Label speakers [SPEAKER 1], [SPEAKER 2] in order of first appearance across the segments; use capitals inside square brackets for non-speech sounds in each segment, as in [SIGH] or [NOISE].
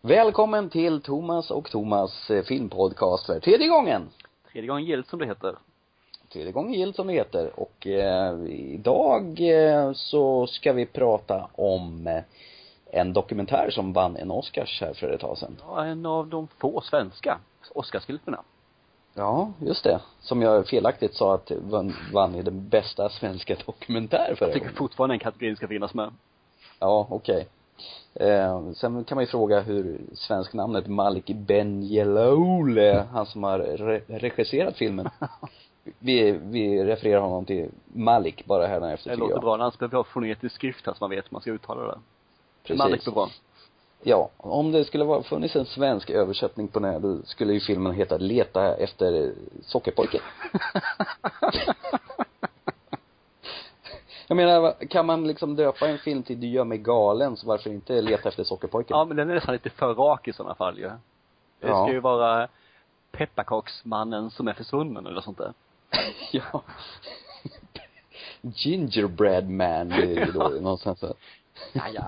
[SPEAKER 1] Välkommen till Thomas och Thomas eh, filmpodcast för tredje gången.
[SPEAKER 2] Tredje gången gillt som det heter.
[SPEAKER 1] Tredje gången gillt som det heter. Och eh, idag eh, så ska vi prata om eh, en dokumentär som vann en Oscars här för ett tag sedan.
[SPEAKER 2] Ja, en av de få svenska Oscarsfilmerna.
[SPEAKER 1] Ja, just det. Som jag felaktigt sa att vann, vann i den bästa svenska dokumentär förra
[SPEAKER 2] Jag tycker
[SPEAKER 1] gången.
[SPEAKER 2] fortfarande den kategorin ska finnas med.
[SPEAKER 1] Ja, okej. Eh, sen kan man ju fråga hur svensk namnet Malik Benjelloul, han som har re- regisserat
[SPEAKER 2] [LAUGHS]
[SPEAKER 1] filmen. Vi, vi refererar honom till Malik bara här efter
[SPEAKER 2] Det låter bra. Annars behöver jag ha fonetisk skrift här så man vet hur man ska uttala det.
[SPEAKER 1] Precis.
[SPEAKER 2] Malik blir bra.
[SPEAKER 1] Ja, om det skulle vara, funnits en svensk översättning på den här, då skulle ju filmen heta Leta efter
[SPEAKER 2] [LAUGHS]
[SPEAKER 1] sockerpojken. Jag menar, va- kan man liksom döpa en film till Du gör mig galen, så varför inte Leta efter sockerpojken?
[SPEAKER 2] Ja, men den är nästan lite för rak i sådana fall ju. Det
[SPEAKER 1] Ja.
[SPEAKER 2] ska ju vara pepparkaksmannen som är försvunnen eller sånt där.
[SPEAKER 1] Ja. [LAUGHS] Gingerbread man, det är ju då någonstans där.
[SPEAKER 2] Ja, ja.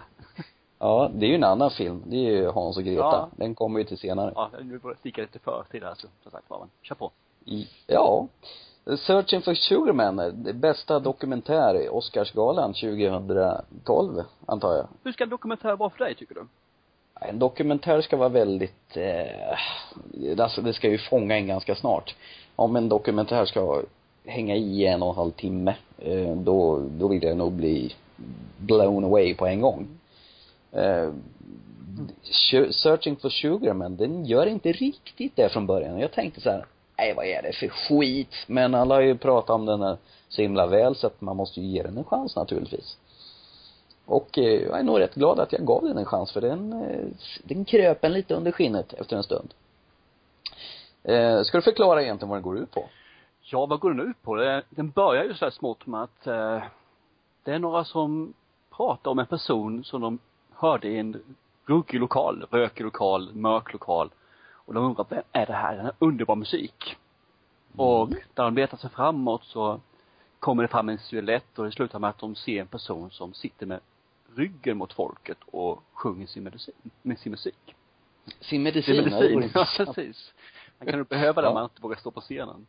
[SPEAKER 1] Ja, det är ju en annan film. Det är ju Hans och Greta.
[SPEAKER 2] Ja.
[SPEAKER 1] Den kommer ju till senare.
[SPEAKER 2] Ja, nu börjar jag sticka lite för till det här så, som sagt var. men Kör på.
[SPEAKER 1] I- Ja. Searching for Sugar Man, det bästa dokumentär i Oscarsgalan 2012, antar jag.
[SPEAKER 2] Hur ska en dokumentär vara för dig tycker du?
[SPEAKER 1] En dokumentär ska vara väldigt, eh, alltså det ska ju fånga en ganska snart. Om en dokumentär ska hänga i en och en halv timme, eh, då, då vill jag nog bli blown away på en gång. Eh, Su- Searching for Sugar men den gör inte riktigt det från början. Jag tänkte så här, nej vad är det för skit? Men alla har ju pratat om den här så himla väl så att man måste ju ge den en chans naturligtvis. Och eh, jag är nog rätt glad att jag gav den en chans för den, eh, den kröp en lite under skinnet efter en stund. Eh, ska du förklara egentligen vad den går ut på?
[SPEAKER 2] Ja, vad går den ut på? Det- Den börjar ju så här smått med att eh, det är några som pratar om en person som de hörde i en ruggig lokal, rökig lokal, mörk lokal. Och de undrar, vem är det här? Den här underbar musik. Och när de letar sig framåt så kommer det fram en silhuett och det slutar med att de ser en person som sitter med ryggen mot folket och sjunger sin medicin, med sin musik.
[SPEAKER 1] Sin
[SPEAKER 2] Sin
[SPEAKER 1] medicin? det vore
[SPEAKER 2] medicin, [LAUGHS] ja
[SPEAKER 1] intressant.
[SPEAKER 2] precis. Man kan nog behöva det
[SPEAKER 1] Ja.
[SPEAKER 2] om man inte vågar stå på scenen.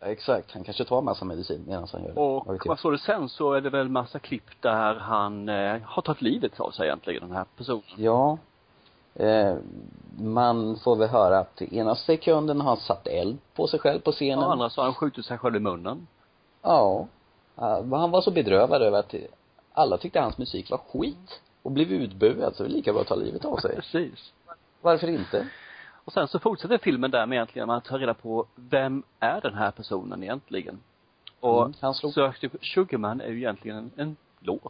[SPEAKER 1] ja, exakt. Han kanske tar massa medicin medan han gör det. Vad vet
[SPEAKER 2] Och
[SPEAKER 1] jag?
[SPEAKER 2] vad står det sen så är det väl massa klipp där han eh, har tagit livet av sig egentligen, den här personen.
[SPEAKER 1] Ja. Eh, man får väl höra att i ena sekunden har han satt eld på sig själv på scenen.
[SPEAKER 2] Och andra så har han skjutit sig själv i munnen.
[SPEAKER 1] Ja. Eh, Han var så bedrövad över att alla tyckte hans musik var skit och blev utbuad så det är lika bra att ta livet av sig.
[SPEAKER 2] Precis.
[SPEAKER 1] Varför inte?
[SPEAKER 2] Och sen så fortsätter filmen där med egentligen att ta reda på vem är den här personen egentligen? Och
[SPEAKER 1] Mm, han slog-
[SPEAKER 2] Sökte Sugarman är ju egentligen en, en låt.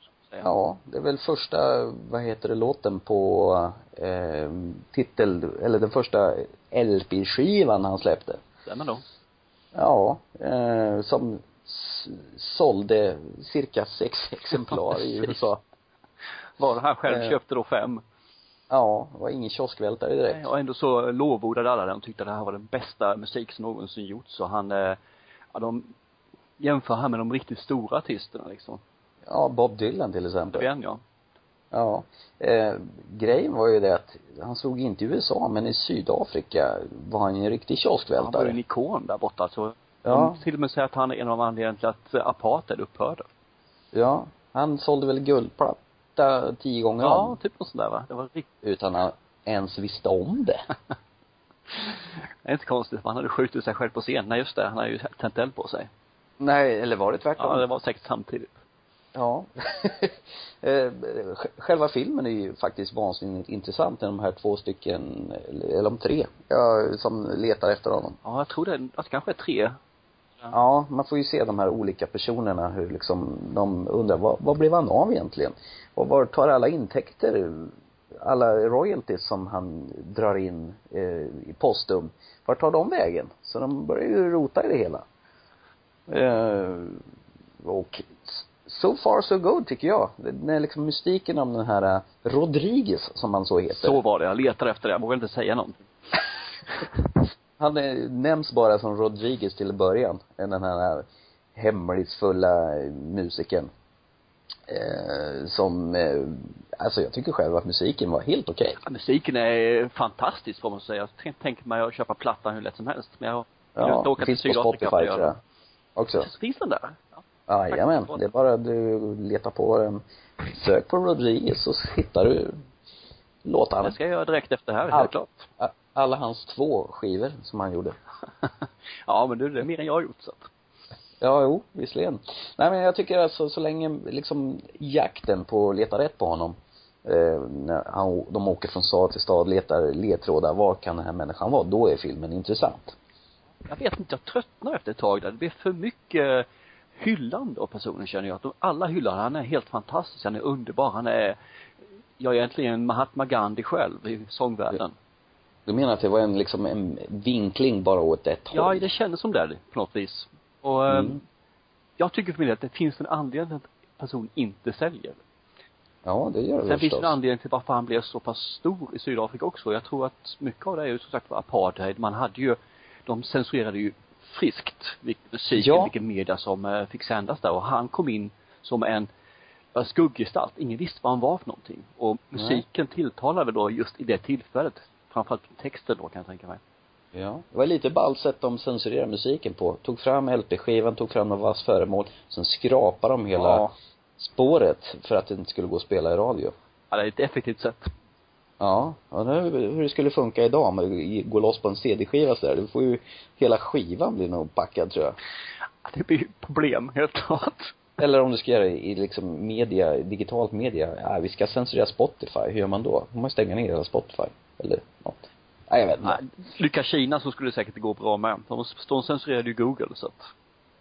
[SPEAKER 2] så att säga.
[SPEAKER 1] Ja, det är väl första, vad heter det, låten på eh, titel, eller den första LP-skivan han släppte.
[SPEAKER 2] Stämmer då.
[SPEAKER 1] Ja, eh, som s- sålde cirka sex [LAUGHS] exemplar i
[SPEAKER 2] Precis.
[SPEAKER 1] USA.
[SPEAKER 2] Var han själv
[SPEAKER 1] Eh,
[SPEAKER 2] köpte då fem.
[SPEAKER 1] Ja, det var ingen kioskvältare direkt.
[SPEAKER 2] Och ändå så lovordade alla den och tyckte det här var den bästa musik som någonsin gjorts så han, eh, ja de jämför han med de riktigt stora artisterna liksom.
[SPEAKER 1] Ja, Bob Dylan till exempel.
[SPEAKER 2] Ben ja.
[SPEAKER 1] Ja. Eh, grejen var ju det att han slog inte i USA, men i Sydafrika var han ju en riktig
[SPEAKER 2] Han var ju en
[SPEAKER 1] kioskvältare.
[SPEAKER 2] ikon där borta så
[SPEAKER 1] Ja.
[SPEAKER 2] de till och med säger att han är en av anledningarna till att eh, apartheid upphörde.
[SPEAKER 1] Ja. Han sålde väl guldplatta tio gånger om.
[SPEAKER 2] Ja, typ något sånt där va. Det var riktigt,
[SPEAKER 1] utan att ens visste om det.
[SPEAKER 2] det är inte konstigt för han hade skjutit sig själv på scen. Nej just det, han hade ju tänt eld på sig.
[SPEAKER 1] [LAUGHS] Nej, eller var det tvärtom?
[SPEAKER 2] Ja, det var säkert samtidigt.
[SPEAKER 1] Ja. [LAUGHS] Eh, sj- Själva filmen är ju faktiskt vansinnigt intressant när de här två stycken, eller de tre, ja, som letar efter honom.
[SPEAKER 2] Ja, jag tror det, att det kanske är tre.
[SPEAKER 1] Ja, man får ju se de här olika personerna hur liksom, de undrar, vad, vad blev han av egentligen? Och var tar alla intäkter, alla royalties som han drar in eh, i postum, var tar de vägen? Så de börjar ju rota i det hela. Eh, och s- so far so good tycker jag. Den är liksom mystiken om den här eh, Rodriguez som han så heter.
[SPEAKER 2] Så var det, jag letade efter det. Jag vågade inte säga någonting.
[SPEAKER 1] Han eh, nämns bara som Rodriguez till början, den här hemlighetsfulla musikern. Eh, som, eh, alltså jag tycker själv att musiken var helt okej.
[SPEAKER 2] Ja, musiken är fantastisk får man säga. Jag tänker mig att köpa plattan hur lätt som helst. Men jag har jag har inte
[SPEAKER 1] Ja,
[SPEAKER 2] åkt
[SPEAKER 1] det
[SPEAKER 2] till
[SPEAKER 1] finns på
[SPEAKER 2] Sydafrika
[SPEAKER 1] Spotify
[SPEAKER 2] för att
[SPEAKER 1] tror
[SPEAKER 2] göra
[SPEAKER 1] jag.
[SPEAKER 2] det.
[SPEAKER 1] Också.
[SPEAKER 2] Så finns den där? Ja.
[SPEAKER 1] Jajamän,
[SPEAKER 2] Faktiskt.
[SPEAKER 1] det är bara du letar på den. Sök på Rodriguez så hittar du låtarna.
[SPEAKER 2] Det ska jag göra direkt efter det här,
[SPEAKER 1] Allt.
[SPEAKER 2] helt klart. [LAUGHS]
[SPEAKER 1] A- Alla hans två skivor som han gjorde.
[SPEAKER 2] ja, men du, det är mer än jag har gjort så att.
[SPEAKER 1] Ja, jo, visserligen. Nej men jag tycker alltså så länge liksom jakten på att leta rätt på honom, eh, när han, de åker från stad till stad, letar ledtrådar, var kan den här människan vara? Då är filmen intressant.
[SPEAKER 2] Jag vet inte, jag tröttnar efter ett tag där. Det blir för mycket eh, hyllande av personen känner jag. Att de, alla hyllar han. Han är helt fantastisk, han är underbar, han är jag är egentligen Mahatma Gandhi själv i sångvärlden.
[SPEAKER 1] Du menar att det var en liksom en vinkling bara åt ett
[SPEAKER 2] Ja,
[SPEAKER 1] håll?
[SPEAKER 2] det kändes som det på något vis. Och eh,
[SPEAKER 1] Mm.
[SPEAKER 2] jag tycker för min del att det finns en anledning att en person inte säljer.
[SPEAKER 1] Ja, det gör det
[SPEAKER 2] Sen finns det
[SPEAKER 1] förstås.
[SPEAKER 2] en anledning till varför han blev så pass stor i Sydafrika också. Jag tror att mycket av det är ju som sagt var apartheid. Man hade ju, de censurerade ju friskt vilken musik,
[SPEAKER 1] Ja.
[SPEAKER 2] vilken media som eh, fick sändas där och han kom in som en ja, skugggestalt. Ingen visste vad han var för någonting. Och musiken tilltalade då just i det tillfället. Framförallt texten då kan jag tänka mig.
[SPEAKER 1] Ja. Det var lite ballt sätt de censurerade musiken på. Tog fram LP-skivan, tog fram några vass föremål, sen skrapade de hela
[SPEAKER 2] Ja.
[SPEAKER 1] spåret för att det inte skulle gå att spela i radio.
[SPEAKER 2] Ja, det är ett effektivt sätt.
[SPEAKER 1] Ja, undrar hur hur det skulle funka idag om det går loss på en CD-skiva sådär. Du får ju, hela skivan blir nog packad tror jag.
[SPEAKER 2] Ja, Det blir ju problem helt klart.
[SPEAKER 1] Eller om du ska göra det i liksom media, digitalt media. Ja, vi ska censurera Spotify, hur gör man då? Man måste stänga ner hela Spotify. Eller något. Nej, jag vet inte.
[SPEAKER 2] Ja, Lyckas Kina så skulle det säkert gå bra med. De, de censurerade ju Google så att.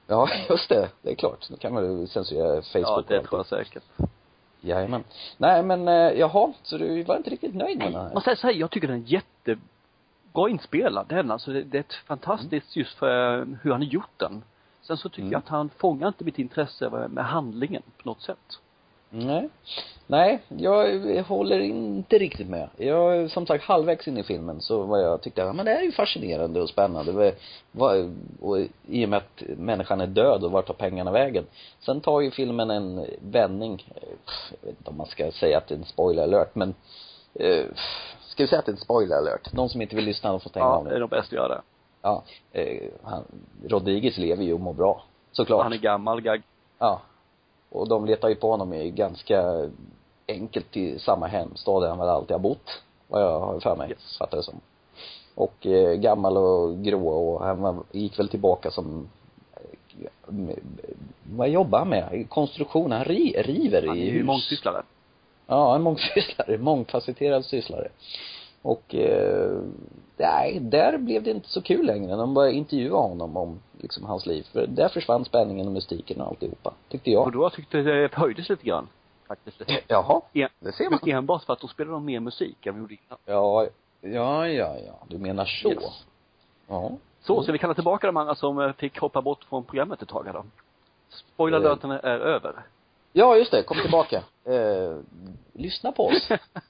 [SPEAKER 1] Ja, [LAUGHS] just det. Det är klart. Då kan man ju censurera Facebook
[SPEAKER 2] ja, det
[SPEAKER 1] och
[SPEAKER 2] tror jag
[SPEAKER 1] allt.
[SPEAKER 2] säkert.
[SPEAKER 1] Jajamän. Nej men, eh, jaha, så du var inte riktigt nöjd med den här?
[SPEAKER 2] Man säger så här, jag tycker den är jättebra inspelad, den alltså. Det, det är ett fantastiskt just för eh, hur han har gjort den. Sen så tycker
[SPEAKER 1] Mm.
[SPEAKER 2] jag att han fångar inte mitt intresse med- med handlingen på något sätt.
[SPEAKER 1] Nej. Nej, jag håller inte riktigt med. Jag, som sagt, halvvägs in i filmen så var jag, tyckte jag, men det här är ju fascinerande och spännande. Det var, och i och med att människan är död och vart tar pengarna vägen? Sen tar ju filmen en vändning, Eh, pff, jag vet inte om man ska säga att det är en spoiler alert, men eh, pff, ska vi säga att det är en spoiler alert? De som inte vill lyssna, de får stänga
[SPEAKER 2] Ja,
[SPEAKER 1] av
[SPEAKER 2] det är
[SPEAKER 1] nu.
[SPEAKER 2] nog bäst att göra det.
[SPEAKER 1] Ja. Eh, han, Rodriguez lever ju och mår bra. Såklart.
[SPEAKER 2] Han är gammal, gag.
[SPEAKER 1] Ja. Och de letar ju på honom i ganska enkelt till samma hemstad där han väl alltid har bott. Vad jag har för mig,
[SPEAKER 2] Yes.
[SPEAKER 1] fattar det som. Och eh, gammal och grå och han var, gick väl tillbaka som eh, med- vad jobbar han med? Konstruktion, han ri, river
[SPEAKER 2] Han är
[SPEAKER 1] i
[SPEAKER 2] ju
[SPEAKER 1] hus.
[SPEAKER 2] mångsysslare.
[SPEAKER 1] Ja, en mångsysslare, [LAUGHS] mångfacetterad sysslare. Och eh, nej, där blev det inte så kul längre. De började intervjua honom om liksom hans liv. För där försvann spänningen och mystiken och alltihopa, tyckte jag.
[SPEAKER 2] Och då tyckte jag det höjdes lite grann. Faktiskt.
[SPEAKER 1] Jaha,
[SPEAKER 2] En,
[SPEAKER 1] det ser man.
[SPEAKER 2] men enbart för att då spelade de mer musik än vi gjorde innan.
[SPEAKER 1] Ja, ja, ja, ja. Du menar så.
[SPEAKER 2] Yes.
[SPEAKER 1] Ja.
[SPEAKER 2] Så, ska vi kalla tillbaka de andra som eh, fick hoppa bort från programmet ett tag här då? Spoiler
[SPEAKER 1] Eh.
[SPEAKER 2] alerten är är över.
[SPEAKER 1] Ja, just det. Kom tillbaka. Eh, lyssna på
[SPEAKER 2] [LAUGHS]
[SPEAKER 1] oss.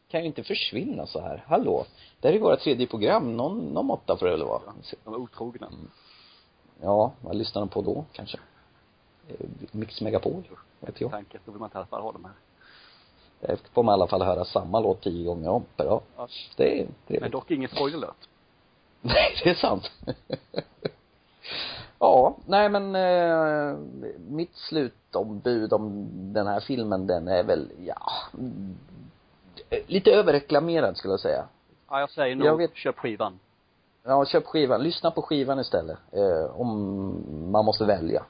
[SPEAKER 1] Kan ju inte försvinna så här. Hallå. Det här är våra tredje program. Någon, någon måtta får det väl vara.
[SPEAKER 2] De är otrogna.
[SPEAKER 1] Mm, Ja, vad lyssnar de på då kanske? Eh, Mix Megapol? Vet jag.
[SPEAKER 2] Tanken, då vill man i alla fall ha dem här.
[SPEAKER 1] Där får man i alla fall höra samma låt tio gånger om per dag.
[SPEAKER 2] Ja.
[SPEAKER 1] Det är
[SPEAKER 2] Men
[SPEAKER 1] trevligt.
[SPEAKER 2] dock ingen spoiler alert.
[SPEAKER 1] Nej, det är sant. [LAUGHS] ja, nej men eh, mitt slutombud om den här filmen den är väl, ja, mm, lite överreklamerad skulle jag säga.
[SPEAKER 2] Ja, jag säger nog,
[SPEAKER 1] Jag vet-
[SPEAKER 2] köp skivan.
[SPEAKER 1] Ja, köp skivan, lyssna på skivan istället, eh, om man måste välja.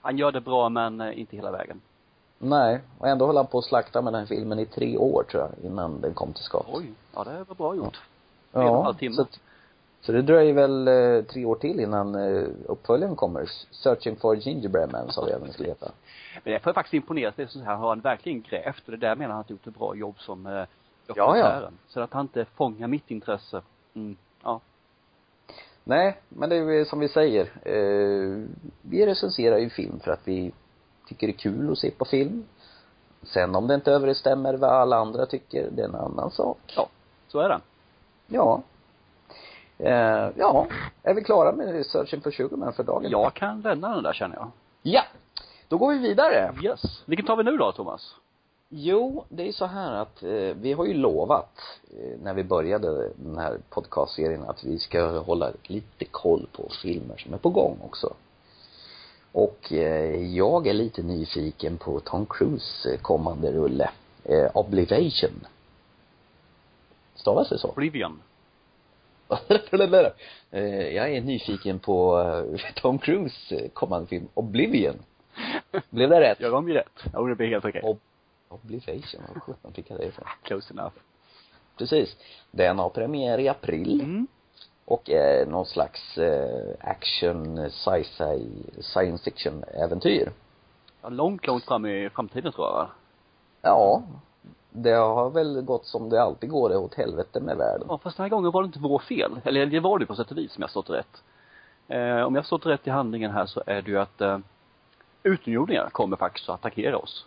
[SPEAKER 2] Han gör det bra men eh, inte hela vägen.
[SPEAKER 1] Nej, och ändå höll han på att slakta med den här filmen i tre år tror jag, innan den kom till skott.
[SPEAKER 2] Oj, ja det var bra gjort. en och en
[SPEAKER 1] Ja,
[SPEAKER 2] halv timme.
[SPEAKER 1] så, att- så det dröjer väl eh, tre år till innan eh, uppföljaren kommer. Searching for gingerbread man sa vi även skulle heta.
[SPEAKER 2] Men jag får faktiskt imponeras, det är så här, har han verkligen grävt och det där menar han att han gjort ett bra jobb som eh, dokumentären. Så att han inte fångar mitt intresse. Mm. Ja.
[SPEAKER 1] Nej, men det är ju som vi säger. Eh, vi recenserar ju film för att vi tycker det är kul att se på film. Sen om det inte överensstämmer vad alla andra tycker, det är en annan sak.
[SPEAKER 2] ja, så är det.
[SPEAKER 1] Ja. Eh, ja, är vi klara med Searching for Sugar Man för dagen?
[SPEAKER 2] Jag kan lämna den där känner jag.
[SPEAKER 1] Ja! Då går vi vidare.
[SPEAKER 2] Yes. Vilken tar vi nu då Thomas?
[SPEAKER 1] Jo, det är ju så här att eh, vi har ju lovat eh, när vi började den här podcastserien att vi ska hålla lite koll på filmer som är på gång också. Och eh, jag är lite nyfiken på Tom Cruise eh, kommande rulle, eh, Oblivation. Stavas det så? [LAUGHS]
[SPEAKER 2] Oblivion.
[SPEAKER 1] eh, jag är nyfiken på eh, [LAUGHS] Tom Cruise eh, kommande film Oblivion. Blev det rätt?
[SPEAKER 2] Gör de ju rätt. Ja, det blir helt okej.
[SPEAKER 1] Ob- Oblivation, vad sjutton fick jag det ifrån?
[SPEAKER 2] Close enough.
[SPEAKER 1] Precis. Den har premiär i april.
[SPEAKER 2] Mm.
[SPEAKER 1] Och eh, någon slags eh, action, eh, sci-fi, science fiction äventyr.
[SPEAKER 2] Ja, långt, långt fram i framtiden tror jag va?
[SPEAKER 1] Ja. Det har väl gått som det alltid går åt helvete med världen.
[SPEAKER 2] Ja, fast den här gången var det inte vår fel. Eller det var det på sätt och vis om jag har förstått rätt. Eh, om jag har förstått rätt i handlingen här så är det ju att eh, utomjordingar kommer faktiskt att attackera oss.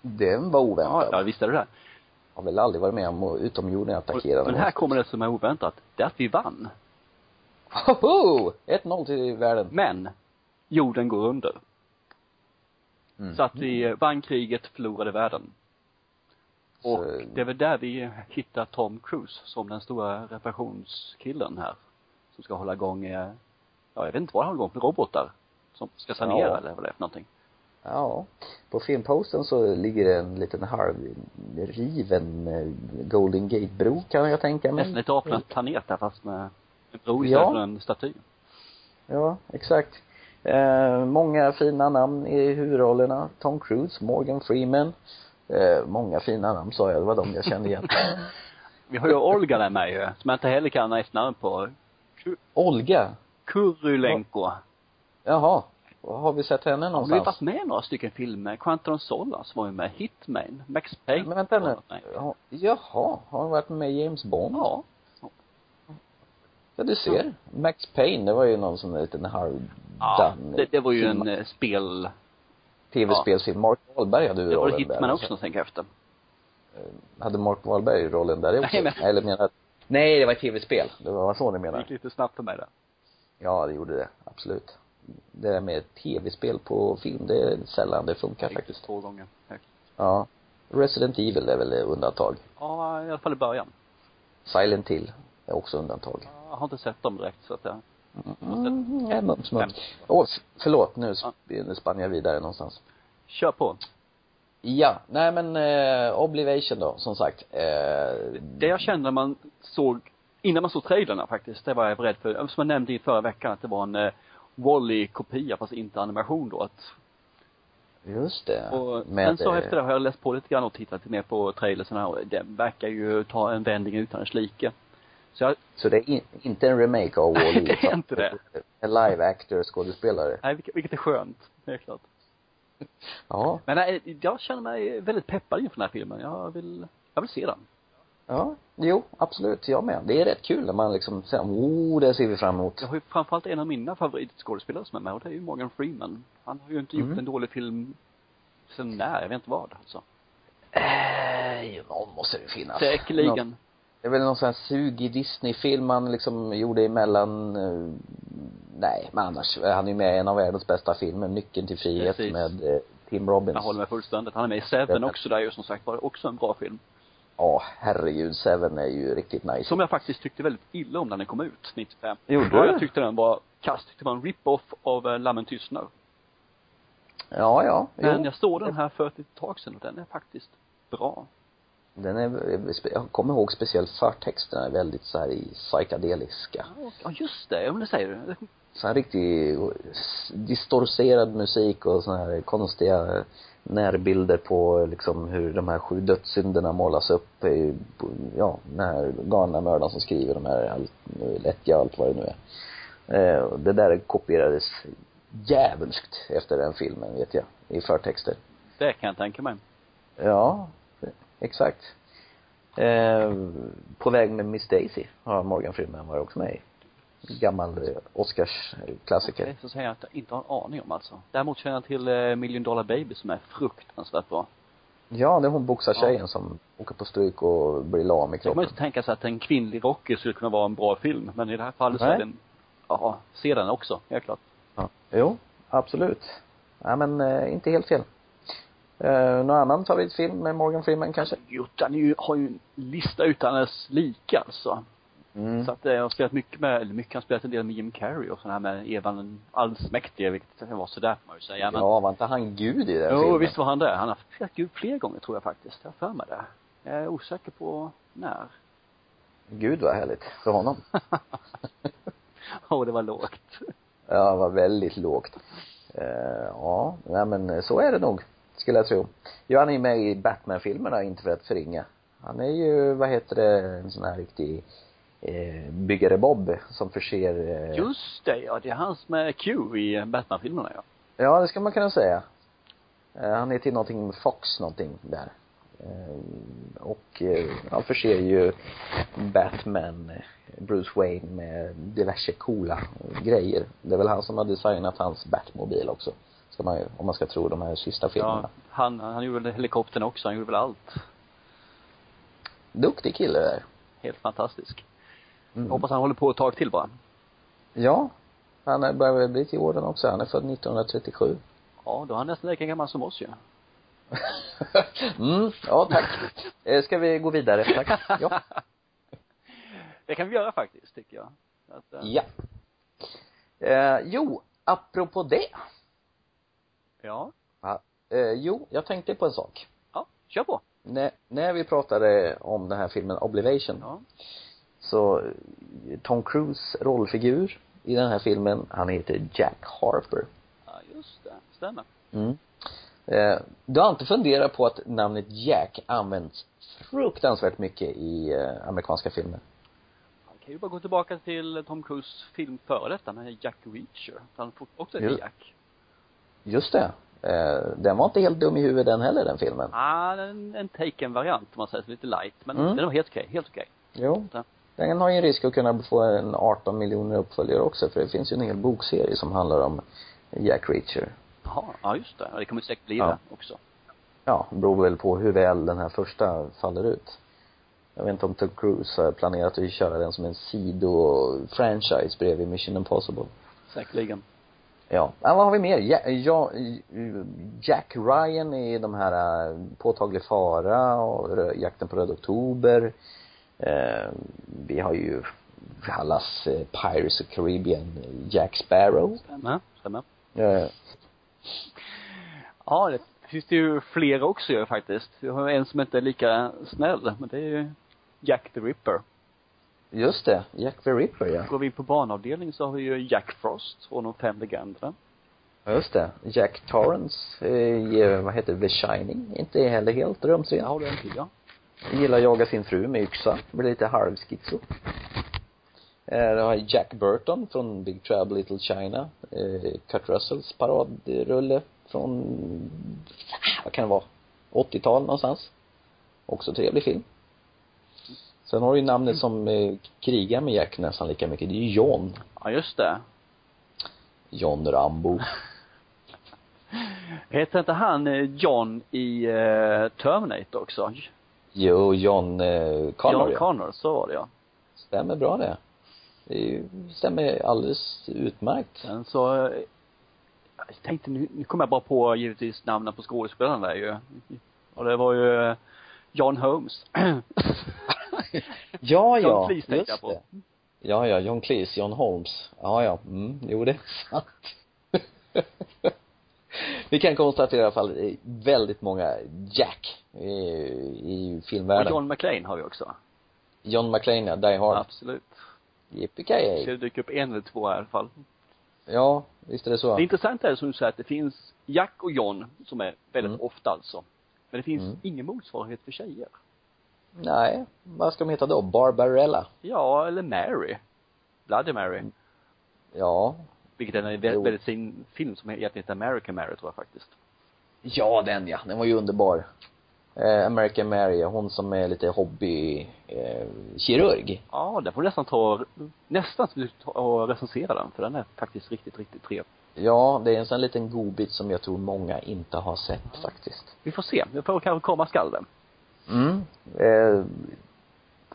[SPEAKER 1] Den var
[SPEAKER 2] Ja,
[SPEAKER 1] oväntad.
[SPEAKER 2] ja visst är det det.
[SPEAKER 1] Har väl aldrig varit med om att utomjordingar attackera
[SPEAKER 2] Men här kommer det som är oväntat. Det är att vi vann.
[SPEAKER 1] Hoho! 1-0 till världen.
[SPEAKER 2] Men jorden går under.
[SPEAKER 1] Mm.
[SPEAKER 2] Så att vi eh, vann kriget, förlorade världen. Och
[SPEAKER 1] Så-
[SPEAKER 2] det är väl där vi hittar Tom Cruise som den stora reparationskillen här. Som ska hålla igång, eh, ja jag vet inte vad han håller igång med, robotar. Som ska sanera
[SPEAKER 1] Ja.
[SPEAKER 2] eller vad det är för någonting.
[SPEAKER 1] Ja. På filmposten så ligger det en liten halvriven eh, Golden Gate-bro kan jag tänka mig.
[SPEAKER 2] Nästan lite applatt planet där fast med en bro
[SPEAKER 1] Mm. Ja.
[SPEAKER 2] istället för en staty.
[SPEAKER 1] Ja, exakt. Eh, många fina namn i huvudrollerna. Tom Cruise, Morgan Freeman. Eh, många fina namn sa jag, det var de jag kände
[SPEAKER 2] [LAUGHS]
[SPEAKER 1] igen.
[SPEAKER 2] Vi har ju Olga där med ju, som jag inte heller kan efternamn på. Ku-
[SPEAKER 1] Olga.
[SPEAKER 2] Kurylenko.
[SPEAKER 1] Jaha. Har vi sett henne
[SPEAKER 2] Hon har ju
[SPEAKER 1] någonstans?
[SPEAKER 2] varit med i några stycken filmer. Quantum of Solace var ju med. Hitman. Max Payne.
[SPEAKER 1] Men vänta nu.
[SPEAKER 2] var med.
[SPEAKER 1] Ja, Jaha, har hon varit med i James Bond?
[SPEAKER 2] Ja.
[SPEAKER 1] Ja, du ser. Max Payne, det var ju någon sån där liten halvdan
[SPEAKER 2] ja det, det var ju en
[SPEAKER 1] film-
[SPEAKER 2] eh, spel...
[SPEAKER 1] tv-spelsfilm. Mark Wahlberg hade ju
[SPEAKER 2] Det var
[SPEAKER 1] rollen
[SPEAKER 2] väl
[SPEAKER 1] där.
[SPEAKER 2] Hitman också tänker jag efter.
[SPEAKER 1] Hade Mark Wahlberg rollen där också?
[SPEAKER 2] Nej, men-
[SPEAKER 1] Eller menar Nej, det var ett tv-spel. Det var så ni
[SPEAKER 2] Det
[SPEAKER 1] menar?
[SPEAKER 2] gick lite snabbt för mig där.
[SPEAKER 1] Ja, det gjorde det. Absolut. Det där med tv-spel på film, det är sällan det funkar faktiskt.
[SPEAKER 2] Två gånger. Tack.
[SPEAKER 1] Ja. Resident Evil är väl undantag.
[SPEAKER 2] Ja, i alla fall i början.
[SPEAKER 1] Silent Hill är också undantag.
[SPEAKER 2] Jag har inte sett dem direkt så att jag...
[SPEAKER 1] Mm, nej, mums,
[SPEAKER 2] Fem.
[SPEAKER 1] mums. Åh, f- förlåt, nu, sp- nu spann jag vidare någonstans.
[SPEAKER 2] Kör på.
[SPEAKER 1] Mm. Ja, nej men eh, Oblivation då, som sagt. Eh,
[SPEAKER 2] Det jag kände när man såg, innan man såg trailerna faktiskt, det var jag beredd för. Som jag nämnde i förra veckan att det var en eh, Wall-E-kopia fast inte animation då. Att,
[SPEAKER 1] just det.
[SPEAKER 2] och
[SPEAKER 1] Med,
[SPEAKER 2] sen så
[SPEAKER 1] eh,
[SPEAKER 2] efter det har jag läst på lite grann och tittat lite mer på trailerna och det verkar ju ta en vändning utan dess like. Så jag,
[SPEAKER 1] Så det är in, inte en remake av Wall-E?
[SPEAKER 2] [LAUGHS] Det är
[SPEAKER 1] utan
[SPEAKER 2] inte det.
[SPEAKER 1] En live actor skådespelare.
[SPEAKER 2] nej, vilket, vilket är skönt, helt klart.
[SPEAKER 1] Ja.
[SPEAKER 2] Men nej, jag känner mig väldigt peppad inför den här filmen. Jag vill, jag vill se den.
[SPEAKER 1] Ja, jo, absolut, jag med. Det är rätt kul när man liksom säger, oh, det ser vi fram emot.
[SPEAKER 2] Jag har ju framförallt en av mina favoritskådespelare som är med och det är ju Morgan Freeman. Han har ju inte gjort
[SPEAKER 1] Mm.
[SPEAKER 2] en dålig film sen när, jag vet inte vad alltså.
[SPEAKER 1] Äh, någon måste det finnas. Någon,
[SPEAKER 2] Eh, Säkerligen.
[SPEAKER 1] det är väl någon sån här sugig Disney-film han liksom gjorde emellan, eh, nej, men annars, eh, han är ju med i en av världens bästa filmer, Nyckeln till frihet
[SPEAKER 2] Precis.
[SPEAKER 1] med eh, Tim
[SPEAKER 2] Jag
[SPEAKER 1] Robbins.
[SPEAKER 2] håller med fullständigt. Han är med i Seven
[SPEAKER 1] Ja.
[SPEAKER 2] också, där ju som sagt var också en bra film.
[SPEAKER 1] Ja, herregud, Seven är ju riktigt nice.
[SPEAKER 2] Som jag faktiskt tyckte väldigt illa om när den kom ut, 95.
[SPEAKER 1] Gjorde
[SPEAKER 2] ja,
[SPEAKER 1] du?
[SPEAKER 2] jag tyckte den var kass. Tyckte det var en rip-off av eh, Lammen tystnar.
[SPEAKER 1] Ja, ja,
[SPEAKER 2] Men
[SPEAKER 1] jo.
[SPEAKER 2] jag såg den här för ett litet tag sedan och den är faktiskt bra.
[SPEAKER 1] Den är, eh, jag kommer ihåg speciellt förtexterna är väldigt så här i psykedeliska.
[SPEAKER 2] Ja, just det. Ja, men det säger du.
[SPEAKER 1] så här riktig s- distorserad musik och såna här konstiga närbilder på liksom hur de här sju dödssynderna målas upp i, på, ja, den här galna mördaren som skriver de här allt, lättja allt vad det nu är. Eh, och det där kopierades djävulskt efter den filmen vet jag, i förtexter.
[SPEAKER 2] Det kan jag tänka mig.
[SPEAKER 1] Ja, exakt. Eh, på väg med Miss Daisy har Morgan Freeman varit också med i. Gammal eh, Oscarsklassiker.
[SPEAKER 2] Det är så att säga att jag inte har en aning om alltså. Däremot känner jag till eh, Million Dollar Baby som är fruktansvärt bra.
[SPEAKER 1] Ja, det är hon boxartjejen
[SPEAKER 2] Ja.
[SPEAKER 1] som åker på stryk och blir lam i
[SPEAKER 2] Sen kan man
[SPEAKER 1] kroppen.
[SPEAKER 2] ju inte tänka sig att en kvinnlig rocker skulle kunna vara en bra film, men i det här fallet så
[SPEAKER 1] Nej.
[SPEAKER 2] är den, ja, se den också, helt klart.
[SPEAKER 1] Ja. Jo, absolut. Nej men eh, inte helt fel. Eh, någon annan favoritfilm med Morgan Freeman kanske?
[SPEAKER 2] Gjort, han är ju, har ju en lista utan dess like alltså.
[SPEAKER 1] Mm.
[SPEAKER 2] Så att eh, jag har spelat mycket med, eller mycket, han har spelat en del med Jim Carrey och sådana här med Evan den allsmäktige, vilket kan vara sådär får man ju säga. Men,
[SPEAKER 1] Ja, var inte han gud i den
[SPEAKER 2] jo,
[SPEAKER 1] filmen?
[SPEAKER 2] visst var han där. Han har spelat Gud fler gånger tror jag faktiskt. Jag har för mig det. Jag är osäker på när. [LAUGHS]
[SPEAKER 1] Gud vad härligt för honom.
[SPEAKER 2] Åh, det var lågt.
[SPEAKER 1] Ja, var väldigt lågt. Eh, ja, nej men eh, så är det nog, skulle jag tro. Ja, han är ju med i Batman-filmerna, inte för att förringa. Han är ju, vad heter det, en sån här riktig eh, byggare Bob som förser eh,
[SPEAKER 2] Just det, ja. Det är hans med Q i Batman-filmerna ja.
[SPEAKER 1] Ja, det ska man kunna säga. Eh, han heter ju någonting med Fox någonting där. Eh, och eh, han förser ju Batman, eh, Bruce Wayne med diverse coola eh, grejer. Det är väl han som har designat hans Batmobil också. Ska man ju, om man ska tro de här sista filmerna.
[SPEAKER 2] ja han, han gjorde väl helikoptern också. Han gjorde väl allt.
[SPEAKER 1] Duktig kille där.
[SPEAKER 2] Helt fantastisk.
[SPEAKER 1] Mm.
[SPEAKER 2] Hoppas han håller på ett tag till bara.
[SPEAKER 1] Ja. Han är- börjar väl bli till åren också. Han är född 1937.
[SPEAKER 2] Ja, då är han nästan lika gammal som oss ju.
[SPEAKER 1] mm, ja tack. Eh, Ska vi gå vidare? Tack. Ja.
[SPEAKER 2] Det kan vi göra faktiskt, tycker jag. Att, eh,
[SPEAKER 1] Ja. Eh, jo, apropå det.
[SPEAKER 2] ja.
[SPEAKER 1] Ja. Eh, jo, jag tänkte på en sak.
[SPEAKER 2] Ja, kör på.
[SPEAKER 1] När, när vi pratade om den här filmen Oblivation
[SPEAKER 2] Ja.
[SPEAKER 1] så eh, Tom Cruise rollfigur i den här filmen, han heter Jack Harper.
[SPEAKER 2] ja, just det. Stämmer.
[SPEAKER 1] Mm. Eh, du har inte funderat på att namnet Jack används fruktansvärt mycket i eh, amerikanska filmer?
[SPEAKER 2] Man kan ju bara gå tillbaka till Tom Cruise film före detta, den här Jack Reacher. Han fort- också
[SPEAKER 1] Jo.
[SPEAKER 2] heter Jack.
[SPEAKER 1] Just det. Eh, den var inte helt dum i huvudet den heller, den filmen.
[SPEAKER 2] Ah, en, en taken-variant om man säger så, lite light. Men
[SPEAKER 1] Mm.
[SPEAKER 2] den var helt okej, helt okej.
[SPEAKER 1] Jo. Den har ju en risk att kunna få en 18 miljoner uppföljare också, för det finns ju en hel bokserie som handlar om Jack Reacher.
[SPEAKER 2] Jaha, ja just det. Ja, Det kommer säkert bli
[SPEAKER 1] Ja.
[SPEAKER 2] det också.
[SPEAKER 1] Ja, det beror väl på hur väl den här första faller ut. Jag vet inte om Tom Cruise har planerat att köra den som en sido-franchise bredvid Mission Impossible.
[SPEAKER 2] Säkerligen.
[SPEAKER 1] Ja. ja vad har vi mer? Ja, ja, Jack Ryan i de här eh, Påtaglig fara och Rö- Jakten på Röd Oktober. Eh, vi har ju allas eh, Pirates of Caribbean, Jack Sparrow.
[SPEAKER 2] Stämmer. Stämmer.
[SPEAKER 1] Eh,
[SPEAKER 2] Ja, det finns det ju flera också ju faktiskt. Vi har en som inte är lika snäll, men det är ju Jack the Ripper.
[SPEAKER 1] just det, Jack the Ripper ja.
[SPEAKER 2] Går vi in på barnavdelningen så har vi ju Jack Frost från de fem legenderna.
[SPEAKER 1] Ja, just det. Jack Torrance eh, i, eh, vad heter det, The Shining. Inte heller helt
[SPEAKER 2] Där
[SPEAKER 1] rumsren.
[SPEAKER 2] har du en till ja.
[SPEAKER 1] Gillar att jaga sin fru med yxa. Blir lite halvschizo. Eh, då har jag Jack Burton från Big Trouble Little China. Eh, Kurt Russells paradrulle från, vad kan det vara, 80-tal någonstans. Också trevlig film. Sen har du ju namnet som eh, krigar med Jack nästan lika mycket. Det är ju John.
[SPEAKER 2] Ja, just det.
[SPEAKER 1] John Rambo.
[SPEAKER 2] Heter inte han eh, John i eh, Terminator också?
[SPEAKER 1] Jo, John eh, Connor.
[SPEAKER 2] John
[SPEAKER 1] ja.
[SPEAKER 2] Connor, så var det ja.
[SPEAKER 1] Stämmer bra det. Det är ju- stämmer alldeles utmärkt.
[SPEAKER 2] Sen så, eh, jag tänkte nu, nu kommer jag bara på givetvis namnen på skådespelarna där ju. Och det var ju eh, John Holmes. [CLEARS THROAT]
[SPEAKER 1] Ja,
[SPEAKER 2] John
[SPEAKER 1] ja.
[SPEAKER 2] Cleese tänkte jag på.
[SPEAKER 1] det. Ja, ja, John Cleese, John Holmes. Ja, ja. Mm, jo, det är sant. [LAUGHS] Vi kan konstatera i alla fall eh, väldigt många Jack i, i
[SPEAKER 2] Och
[SPEAKER 1] filmvärlden. John,
[SPEAKER 2] John McClane har vi också.
[SPEAKER 1] John McClane, ja, Die Hard.
[SPEAKER 2] Absolut. Ska
[SPEAKER 1] Yippee
[SPEAKER 2] det dyka upp en eller två här i alla fall.
[SPEAKER 1] Ja, visst är det så.
[SPEAKER 2] Det intressanta är som du säger att det finns Jack och John som är väldigt
[SPEAKER 1] Mm.
[SPEAKER 2] ofta alltså. Men det finns
[SPEAKER 1] Mm.
[SPEAKER 2] ingen motsvarighet för tjejer.
[SPEAKER 1] Nej, vad ska de heta då? Barbarella?
[SPEAKER 2] Ja, eller Mary. Bloody Mary.
[SPEAKER 1] Ja.
[SPEAKER 2] Vilket är en
[SPEAKER 1] Jo.
[SPEAKER 2] väldigt, väldigt fin film som egentligen heter American Mary tror jag faktiskt.
[SPEAKER 1] Ja, den ja. Den var ju underbar. Eh, American Mary, hon som är lite hobbykirurg. Eh, kirurg.
[SPEAKER 2] Ja, den får du nästan ta, nästan ska du ta och recensera den för den är faktiskt riktigt, riktigt trevlig.
[SPEAKER 1] ja, det är en sån liten godbit som jag tror många inte har sett faktiskt.
[SPEAKER 2] Vi får se, vi får kanske komma skall den.
[SPEAKER 1] Mm. Eh,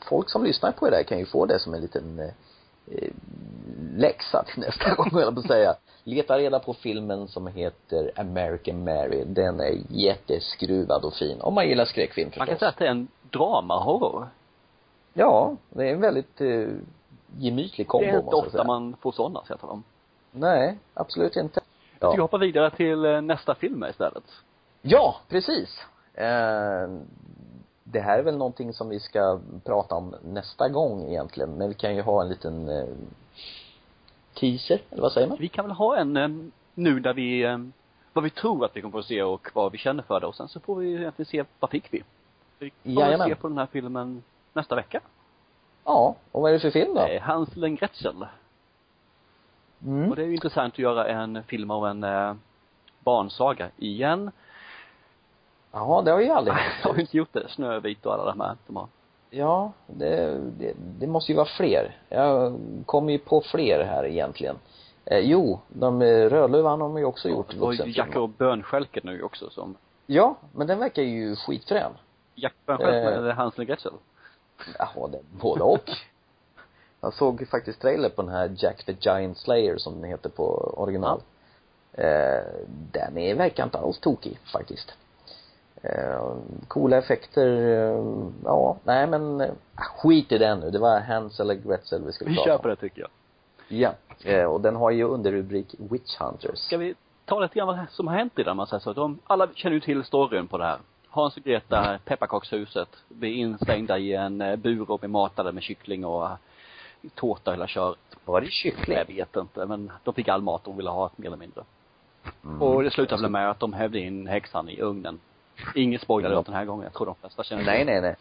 [SPEAKER 1] folk som lyssnar på det där kan ju få det som en liten eh, eh, läxa till nästa [LAUGHS] gång, höll jag på att säga. Leta reda på filmen som heter American Mary. Den är jätteskruvad och fin. Om man gillar skräckfilm förstås.
[SPEAKER 2] Man kan säga att det är en dramahorror.
[SPEAKER 1] Ja, det är en väldigt eh, gemytlig kombo
[SPEAKER 2] det är inte
[SPEAKER 1] måste jag
[SPEAKER 2] ofta
[SPEAKER 1] säga.
[SPEAKER 2] man får sådana, så jag talar om.
[SPEAKER 1] Nej, absolut inte.
[SPEAKER 2] Jag tycker vi hoppar vidare till eh, nästa film här istället.
[SPEAKER 1] Ja, precis. Eh, det här är väl någonting som vi ska prata om nästa gång egentligen, men vi kan ju ha en liten eh, teaser, eller vad säger man?
[SPEAKER 2] Vi kan väl ha en eh, nu där vi, eh, vad vi tror att vi kommer få se och vad vi känner för det och sen så får vi egentligen se vad fick vi. Vi kommer
[SPEAKER 1] Jajamän.
[SPEAKER 2] väl se på den här filmen nästa vecka.
[SPEAKER 1] Ja, och vad är det för film då?
[SPEAKER 2] Eh, Hansel och Gretzl. Och
[SPEAKER 1] Mm.
[SPEAKER 2] det är ju intressant att göra en film av en eh, barnsaga
[SPEAKER 1] [LAUGHS]
[SPEAKER 2] igen.
[SPEAKER 1] Jaha, det har vi ju
[SPEAKER 2] [LAUGHS]
[SPEAKER 1] aldrig
[SPEAKER 2] Jag har ju inte gjort det. Snövit och alla de här de har.
[SPEAKER 1] Ja, det, det, det måste ju vara fler. Jag kommer ju på fler här egentligen. Eh, jo, de eh, Rödluvan har man ju också gjort
[SPEAKER 2] Och Jack
[SPEAKER 1] vuxenfilm.
[SPEAKER 2] och Bönskälket nu också som
[SPEAKER 1] Ja, men den verkar ju skitfrän.
[SPEAKER 2] Jack Bönskälket
[SPEAKER 1] Eh.
[SPEAKER 2] eller Hansel och Gretzl.
[SPEAKER 1] Jaha, det både
[SPEAKER 2] [LAUGHS]
[SPEAKER 1] och. Jag såg faktiskt trailer på den här Jack the Giant Slayer som den heter på original. Eh, den är, verkar inte alls tokig faktiskt. Eh, coola effekter, eh, ja, nej men eh, skit i den nu. Det var Hansel och Gretzl vi skulle
[SPEAKER 2] Vi
[SPEAKER 1] prata
[SPEAKER 2] kör
[SPEAKER 1] om.
[SPEAKER 2] på det tycker jag.
[SPEAKER 1] Ja, eh, och den har ju underrubrik Witch Hunters.
[SPEAKER 2] Ska vi ta lite grann vad som har hänt i Danmark så här, så att de, alla känner ju till storyn på det här. Hans och Greta, pepparkakshuset, blir instängda i en eh, bur och blir matade med kyckling och eh, tårta och hela köret.
[SPEAKER 1] Var det
[SPEAKER 2] Jag
[SPEAKER 1] kyckling?
[SPEAKER 2] vet inte, men de fick all mat de ville ha mer eller mindre. Och det slutade väl med att de hävde in häxan i ugnen. Ingen spoiler
[SPEAKER 1] Ja.
[SPEAKER 2] den här gången, jag tror de flesta känner till
[SPEAKER 1] Nej, nej, nej.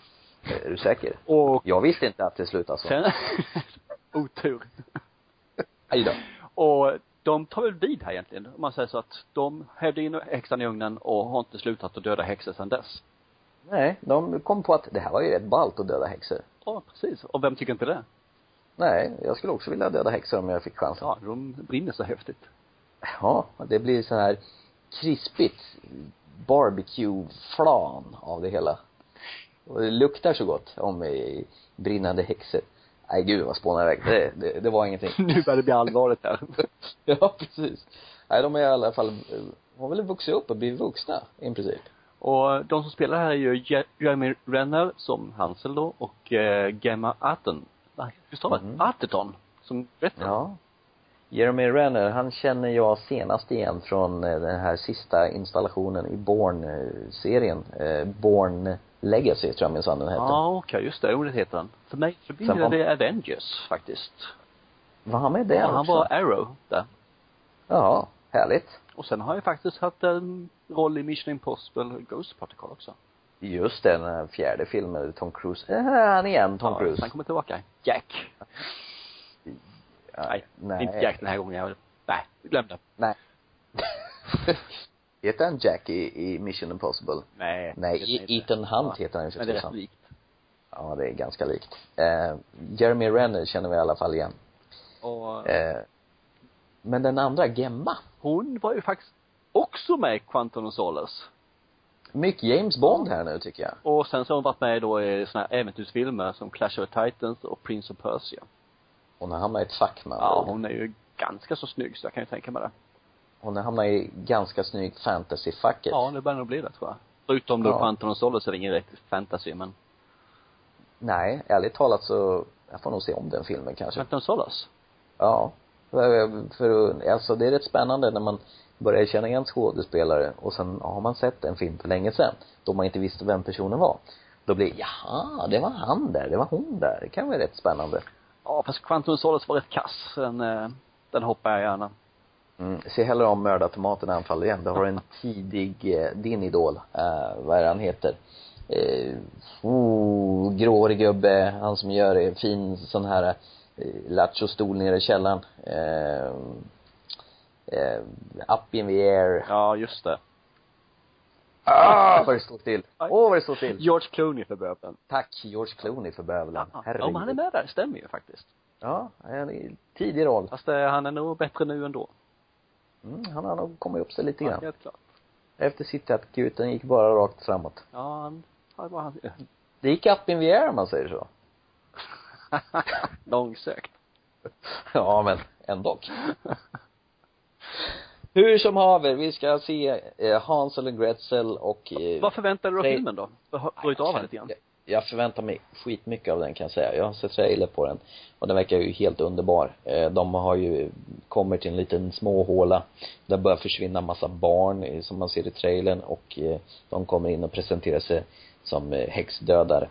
[SPEAKER 1] Är du säker?
[SPEAKER 2] det. Och
[SPEAKER 1] Jag visste inte att det slutade så.
[SPEAKER 2] sen, [LAUGHS] otur.
[SPEAKER 1] Aj då.
[SPEAKER 2] Och de tar väl vid här egentligen, om man säger så att de hävde in häxan i ugnen och har inte slutat att döda häxor sedan dess.
[SPEAKER 1] Nej, de kom på att det här var ju rätt ballt att döda häxor.
[SPEAKER 2] Ja, precis. Och vem tycker inte det?
[SPEAKER 1] Nej, jag skulle också vilja döda häxor om jag fick chansen.
[SPEAKER 2] Ja, de brinner så häftigt.
[SPEAKER 1] Ja, det blir så här krispigt barbecue-flan av det hela. Och det luktar så gott om eh, brinnande häxor. Nej gud vad spånar iväg. Det, det, det var ingenting. [LAUGHS]
[SPEAKER 2] Nu börjar det bli allvarligt här.
[SPEAKER 1] Ja, precis. Nej, de är i alla fall, eh, har väl vuxit upp och blivit vuxna i princip.
[SPEAKER 2] Och de som spelar här är ju Je- Jeremy Renner som Hansel då och eh, Gemma Arten. Nej, hur stavar man?
[SPEAKER 1] Mhm.
[SPEAKER 2] Arterton. Som rätt
[SPEAKER 1] Ja. Jeremy Renner, han känner jag senast igen från eh, den här sista installationen i Born-serien. Born Legacy tror jag minsann den hette.
[SPEAKER 2] Ja, Ah, okej, just det. Jo, det heter han. För mig
[SPEAKER 1] Sen var-
[SPEAKER 2] förbinder det Avengers faktiskt.
[SPEAKER 1] Var han med där
[SPEAKER 2] ja, han
[SPEAKER 1] också?
[SPEAKER 2] var Arrow där.
[SPEAKER 1] Ja, härligt.
[SPEAKER 2] Och sen har han ju faktiskt haft en roll i Mission Impossible Ghost Protocol också.
[SPEAKER 1] Just det, den här fjärde filmen, Tom Cruise. Äh, han igen, Tom
[SPEAKER 2] Ja,
[SPEAKER 1] Cruise.
[SPEAKER 2] Han kommer tillbaka. Jack.
[SPEAKER 1] Ja,
[SPEAKER 2] Nej,
[SPEAKER 1] nej.
[SPEAKER 2] inte Jack den här gången. Jag... Nej, glöm det.
[SPEAKER 1] Nej. heter han Jack i, i Mission Impossible?
[SPEAKER 2] Nej.
[SPEAKER 1] Nej,
[SPEAKER 2] det är det
[SPEAKER 1] E-
[SPEAKER 2] inte.
[SPEAKER 1] Ethan Hunt heter han ju för
[SPEAKER 2] Men det är rätt
[SPEAKER 1] tusan.
[SPEAKER 2] likt.
[SPEAKER 1] Ja, det är ganska likt. Eh, Jeremy Renner känner vi i alla fall igen.
[SPEAKER 2] Och
[SPEAKER 1] Eh, men den andra, Gemma,
[SPEAKER 2] hon var ju faktiskt också med i Quantum of Solace.
[SPEAKER 1] mycket James Bond här nu tycker jag.
[SPEAKER 2] Och sen så har hon varit med då i såna här äventyrsfilmer som Clash of the Titans och Prince of Persia.
[SPEAKER 1] Hon har hamnat i ett fack med andra
[SPEAKER 2] Ja,
[SPEAKER 1] ord.
[SPEAKER 2] hon är ju ganska så snygg så jag kan ju tänka mig det.
[SPEAKER 1] Hon har hamnat i ganska snyggt fantasyfacket.
[SPEAKER 2] Ja, det börjar nog bli det tror jag. Förutom då
[SPEAKER 1] Ja.
[SPEAKER 2] Quantum of Solace är det ingen riktig fantasy men
[SPEAKER 1] Nej, ärligt talat så, jag får nog se om den filmen kanske.
[SPEAKER 2] Quantum of Solace?
[SPEAKER 1] Ja. För, för, alltså det är rätt spännande när man börjar känna igen skådespelare och sen har man sett en film för länge sedan då man inte visste vem personen var. Då blir jaha, det var han där, det var hon där. Det kan vara rätt spännande.
[SPEAKER 2] Ja, fast Quantum of Solace var rätt kass. så Den, eh, den hoppar jag gärna.
[SPEAKER 1] Mm. Se hellre om mördartomaten anfaller igen. Det har en tidig, eh, din idol, eh, vad är det han heter? Eh, oh, gråhårig gubbe, han som gör eh, fin sån här eh, lattjo-stol nere i källaren. Eh, eh, up in the air.
[SPEAKER 2] Ja, just det.
[SPEAKER 1] Ah, vad det står till. Åh,
[SPEAKER 2] Aj.
[SPEAKER 1] vad det står till.
[SPEAKER 2] George Clooney för böbeln.
[SPEAKER 1] Tack George Clooney för bövelen.
[SPEAKER 2] Ja,
[SPEAKER 1] Herregud.
[SPEAKER 2] ja, men han är med där, stämmer ju faktiskt.
[SPEAKER 1] Ja, en i- tidig roll.
[SPEAKER 2] Fast eh, han är nog bättre nu ändå.
[SPEAKER 1] Mm, han har nog kommit upp sig lite
[SPEAKER 2] Ja,
[SPEAKER 1] grann.
[SPEAKER 2] helt klart.
[SPEAKER 1] Efter sitt akuten gick bara rakt framåt.
[SPEAKER 2] Ja, han, han var han, [LAUGHS]
[SPEAKER 1] Det gick up in the air om man säger så.
[SPEAKER 2] långsökt.
[SPEAKER 1] [LAUGHS] Ja, men ändå. Hur som haver, vi ska se eh, Hansel och Gretel och eh,
[SPEAKER 2] Vad förväntar du dig
[SPEAKER 1] Nej.
[SPEAKER 2] av filmen då? Bryt av här lite grann.
[SPEAKER 1] Jag, jag förväntar mig skitmycket av den kan jag säga. Jag har sett trailer på den och den verkar ju helt underbar. Eh, De har ju kommit till en liten småhåla. Där börjar försvinna massa barn eh, som man ser i trailern och eh, de kommer in och presenterar sig som eh, häxdödare.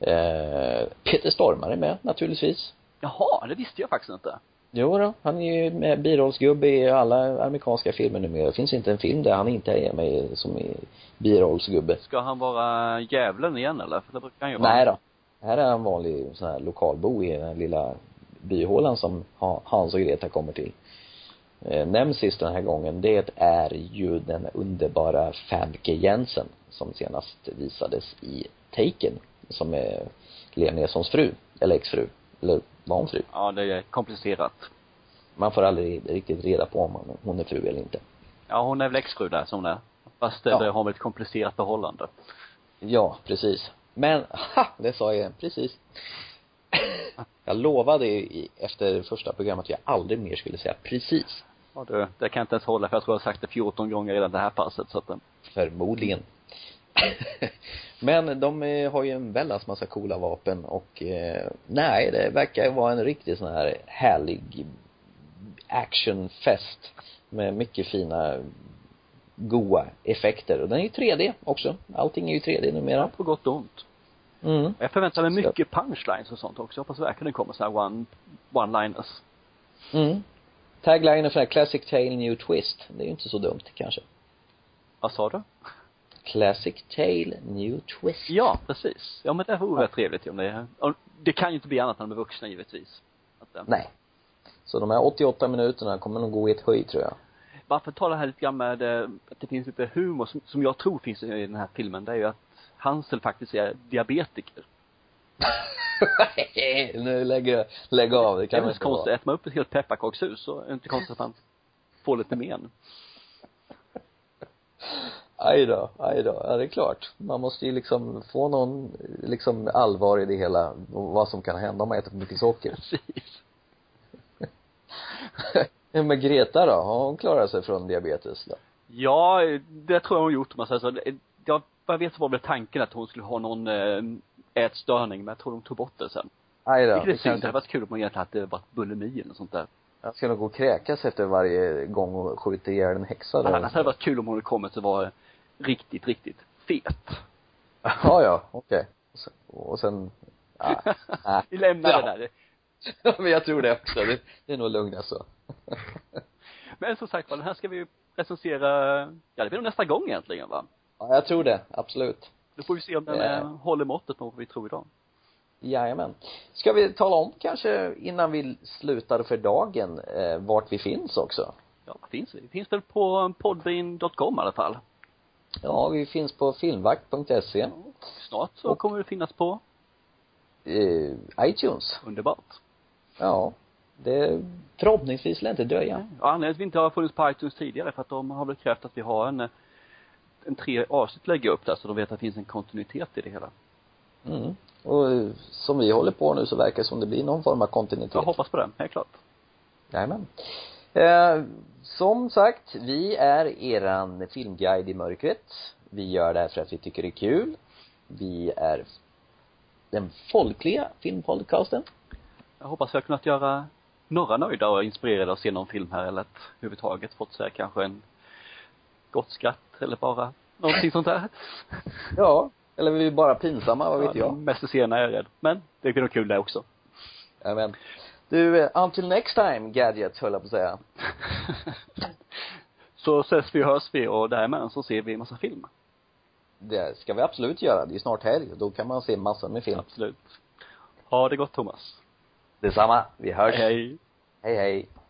[SPEAKER 1] Eh, Peter Stormare är med naturligtvis.
[SPEAKER 2] Jaha, det visste jag faktiskt inte.
[SPEAKER 1] Jo då, han är ju med birollsgubbe i alla amerikanska filmer numera. Det finns inte en film där han inte är med som i birollsgubbe.
[SPEAKER 2] Ska han vara djävulen igen eller? För det brukar han ju vara.
[SPEAKER 1] Nej då. Här är en vanlig sån här lokalbo i den lilla byhålan som Ha- Hans och Greta kommer till. Eh, nämns sist den här gången, det är ju den underbara Famke Jensen som senast visades i Taken, som är Liam Neesons fru, eller exfru, eller var hon fru?
[SPEAKER 2] Ja, det är komplicerat.
[SPEAKER 1] Man får aldrig riktigt reda på om hon- hon är fru eller inte.
[SPEAKER 2] Ja, hon är väl exfru där som det är. Fast det
[SPEAKER 1] Ja.
[SPEAKER 2] det har väl ett komplicerat förhållande.
[SPEAKER 1] Ja, precis. Men, [LAUGHS] ha! Det sa jag igen. Precis. Jag lovade ju i, efter första programmet att jag aldrig mer skulle säga precis.
[SPEAKER 2] Ja, det, det kan jag inte ens hålla för jag tror jag har sagt det 14 gånger redan det här passet så att eh,
[SPEAKER 1] Förmodligen. [LAUGHS] Men de eh, har ju en väldans massa coola vapen och eh, nej, det verkar vara en riktig sån här härlig actionfest med mycket fina goa effekter. Och den är ju 3D också. Allting är ju 3D numera.
[SPEAKER 2] på gott och ont.
[SPEAKER 1] Mm.
[SPEAKER 2] Jag förväntar mig
[SPEAKER 1] Så-
[SPEAKER 2] mycket punchlines och sånt också. Jag hoppas verkligen det kommer så här one, one-liners.
[SPEAKER 1] Mm. Taglinen för den här, Classic Tale New Twist. Det är ju inte så dumt kanske.
[SPEAKER 2] Vad sa du?
[SPEAKER 1] Classic Tale New Twist.
[SPEAKER 2] Ja, precis. Ja, men det vore rätt trevligt ju om det, om, det kan ju inte bli annat än de är vuxna givetvis. Att, eh,
[SPEAKER 1] Nej. Så de här 88 minuterna kommer nog gå i ett höj tror jag. [LAUGHS]
[SPEAKER 2] varför ta det här lite grann med eh, att det finns lite humor som, som jag tror finns i den här filmen, det är ju att Hansel faktiskt är diabetiker.
[SPEAKER 1] nu lägger jag, lägg av. Det
[SPEAKER 2] Det är
[SPEAKER 1] kan
[SPEAKER 2] väl
[SPEAKER 1] väl
[SPEAKER 2] inte
[SPEAKER 1] inte vara.
[SPEAKER 2] konstigt, äter man upp ett helt pepparkakshus så är det inte konstigt att han får
[SPEAKER 1] [LAUGHS]
[SPEAKER 2] lite men.
[SPEAKER 1] Aj då, aj då. Ja, det är klart. Man måste ju liksom få någon, eh, liksom allvar i det hela. och Vad som kan hända om man äter för mycket socker.
[SPEAKER 2] Precis.
[SPEAKER 1] Men Greta då? Har hon klarat sig från diabetes då?
[SPEAKER 2] Ja, det tror jag hon gjort om man säger så. Det- Jag, vad jag vet så var väl tanken att hon skulle ha någon eh, ätstörning, men jag tror de tog bort det sen.
[SPEAKER 1] Aj då.
[SPEAKER 2] Vilket är
[SPEAKER 1] det
[SPEAKER 2] synd, det hade
[SPEAKER 1] kanske-
[SPEAKER 2] varit kul om hon egentligen hade varit bulimi eller något sånt där.
[SPEAKER 1] Jag ska nog gå och kräkas efter varje gång och skjuta ihjäl en häxa då.
[SPEAKER 2] Annars hade det varit kul om hon hade kommit och var riktigt, riktigt fet.
[SPEAKER 1] Ja, ja, okej. Och sen- Och sen, [LAUGHS] ja, nej.
[SPEAKER 2] Vi lämnar
[SPEAKER 1] Ja.
[SPEAKER 2] det där.
[SPEAKER 1] men jag tror det också. Det, det är nog alltså. lugnast [LAUGHS] så.
[SPEAKER 2] Men som sagt var, den här ska vi ju recensera, ja det blir nog nästa gång egentligen va?
[SPEAKER 1] Ja, jag tror det. Absolut.
[SPEAKER 2] Då får vi se om den
[SPEAKER 1] Eh.
[SPEAKER 2] eh, håller måttet på vad vi tror idag.
[SPEAKER 1] Jajamän. Ska vi tala om kanske innan vi slutar för dagen eh, vart vi finns också?
[SPEAKER 2] Ja, vad finns vi? Vi Finns väl på podbean.com i alla fall.
[SPEAKER 1] Ja, vi finns på filmvakt.se,
[SPEAKER 2] Snart så
[SPEAKER 1] Och-
[SPEAKER 2] kommer det finnas på
[SPEAKER 1] eh, iTunes.
[SPEAKER 2] Underbart.
[SPEAKER 1] Ja. Det förhoppningsvis lär inte dröja.
[SPEAKER 2] Och anledningen till att vi inte har funnits på iTunes tidigare är för att de har väl krävt att vi har en, eh, en tre avsnitt att lägga upp där så de vet att det finns en kontinuitet i det hela.
[SPEAKER 1] Mm. Och eh, som vi håller på nu så verkar det som det blir någon form av kontinuitet.
[SPEAKER 2] Jag hoppas på det, helt klart.
[SPEAKER 1] Jajamän. Eh, som sagt, vi är eran filmguide i mörkret. Vi gör det här för att vi tycker det är kul. Vi är den folkliga filmpodcasten.
[SPEAKER 2] Jag hoppas jag har kunnat göra några nöjda och inspirerade att se någon film här eller att överhuvudtaget fått säga kanske en gott skratt eller bara någonting sånt där.
[SPEAKER 1] Ja. Eller vi är bara pinsamma, vad vet
[SPEAKER 2] Ja,
[SPEAKER 1] jag.
[SPEAKER 2] Mest det senare är jag rädd. Men det blir nog kul det också.
[SPEAKER 1] Jajamän. Du, eh, until next time, Gadget, höll jag på att säga.
[SPEAKER 2] så ses vi och hörs vi och däremellan så ser vi en massa film.
[SPEAKER 1] Det ska vi absolut göra. Det är ju snart helg. Då kan man se massor med film.
[SPEAKER 2] Absolut. Ha det gott Thomas.
[SPEAKER 1] Detsamma. Vi hörs.
[SPEAKER 2] Hej.
[SPEAKER 1] Hej, hej.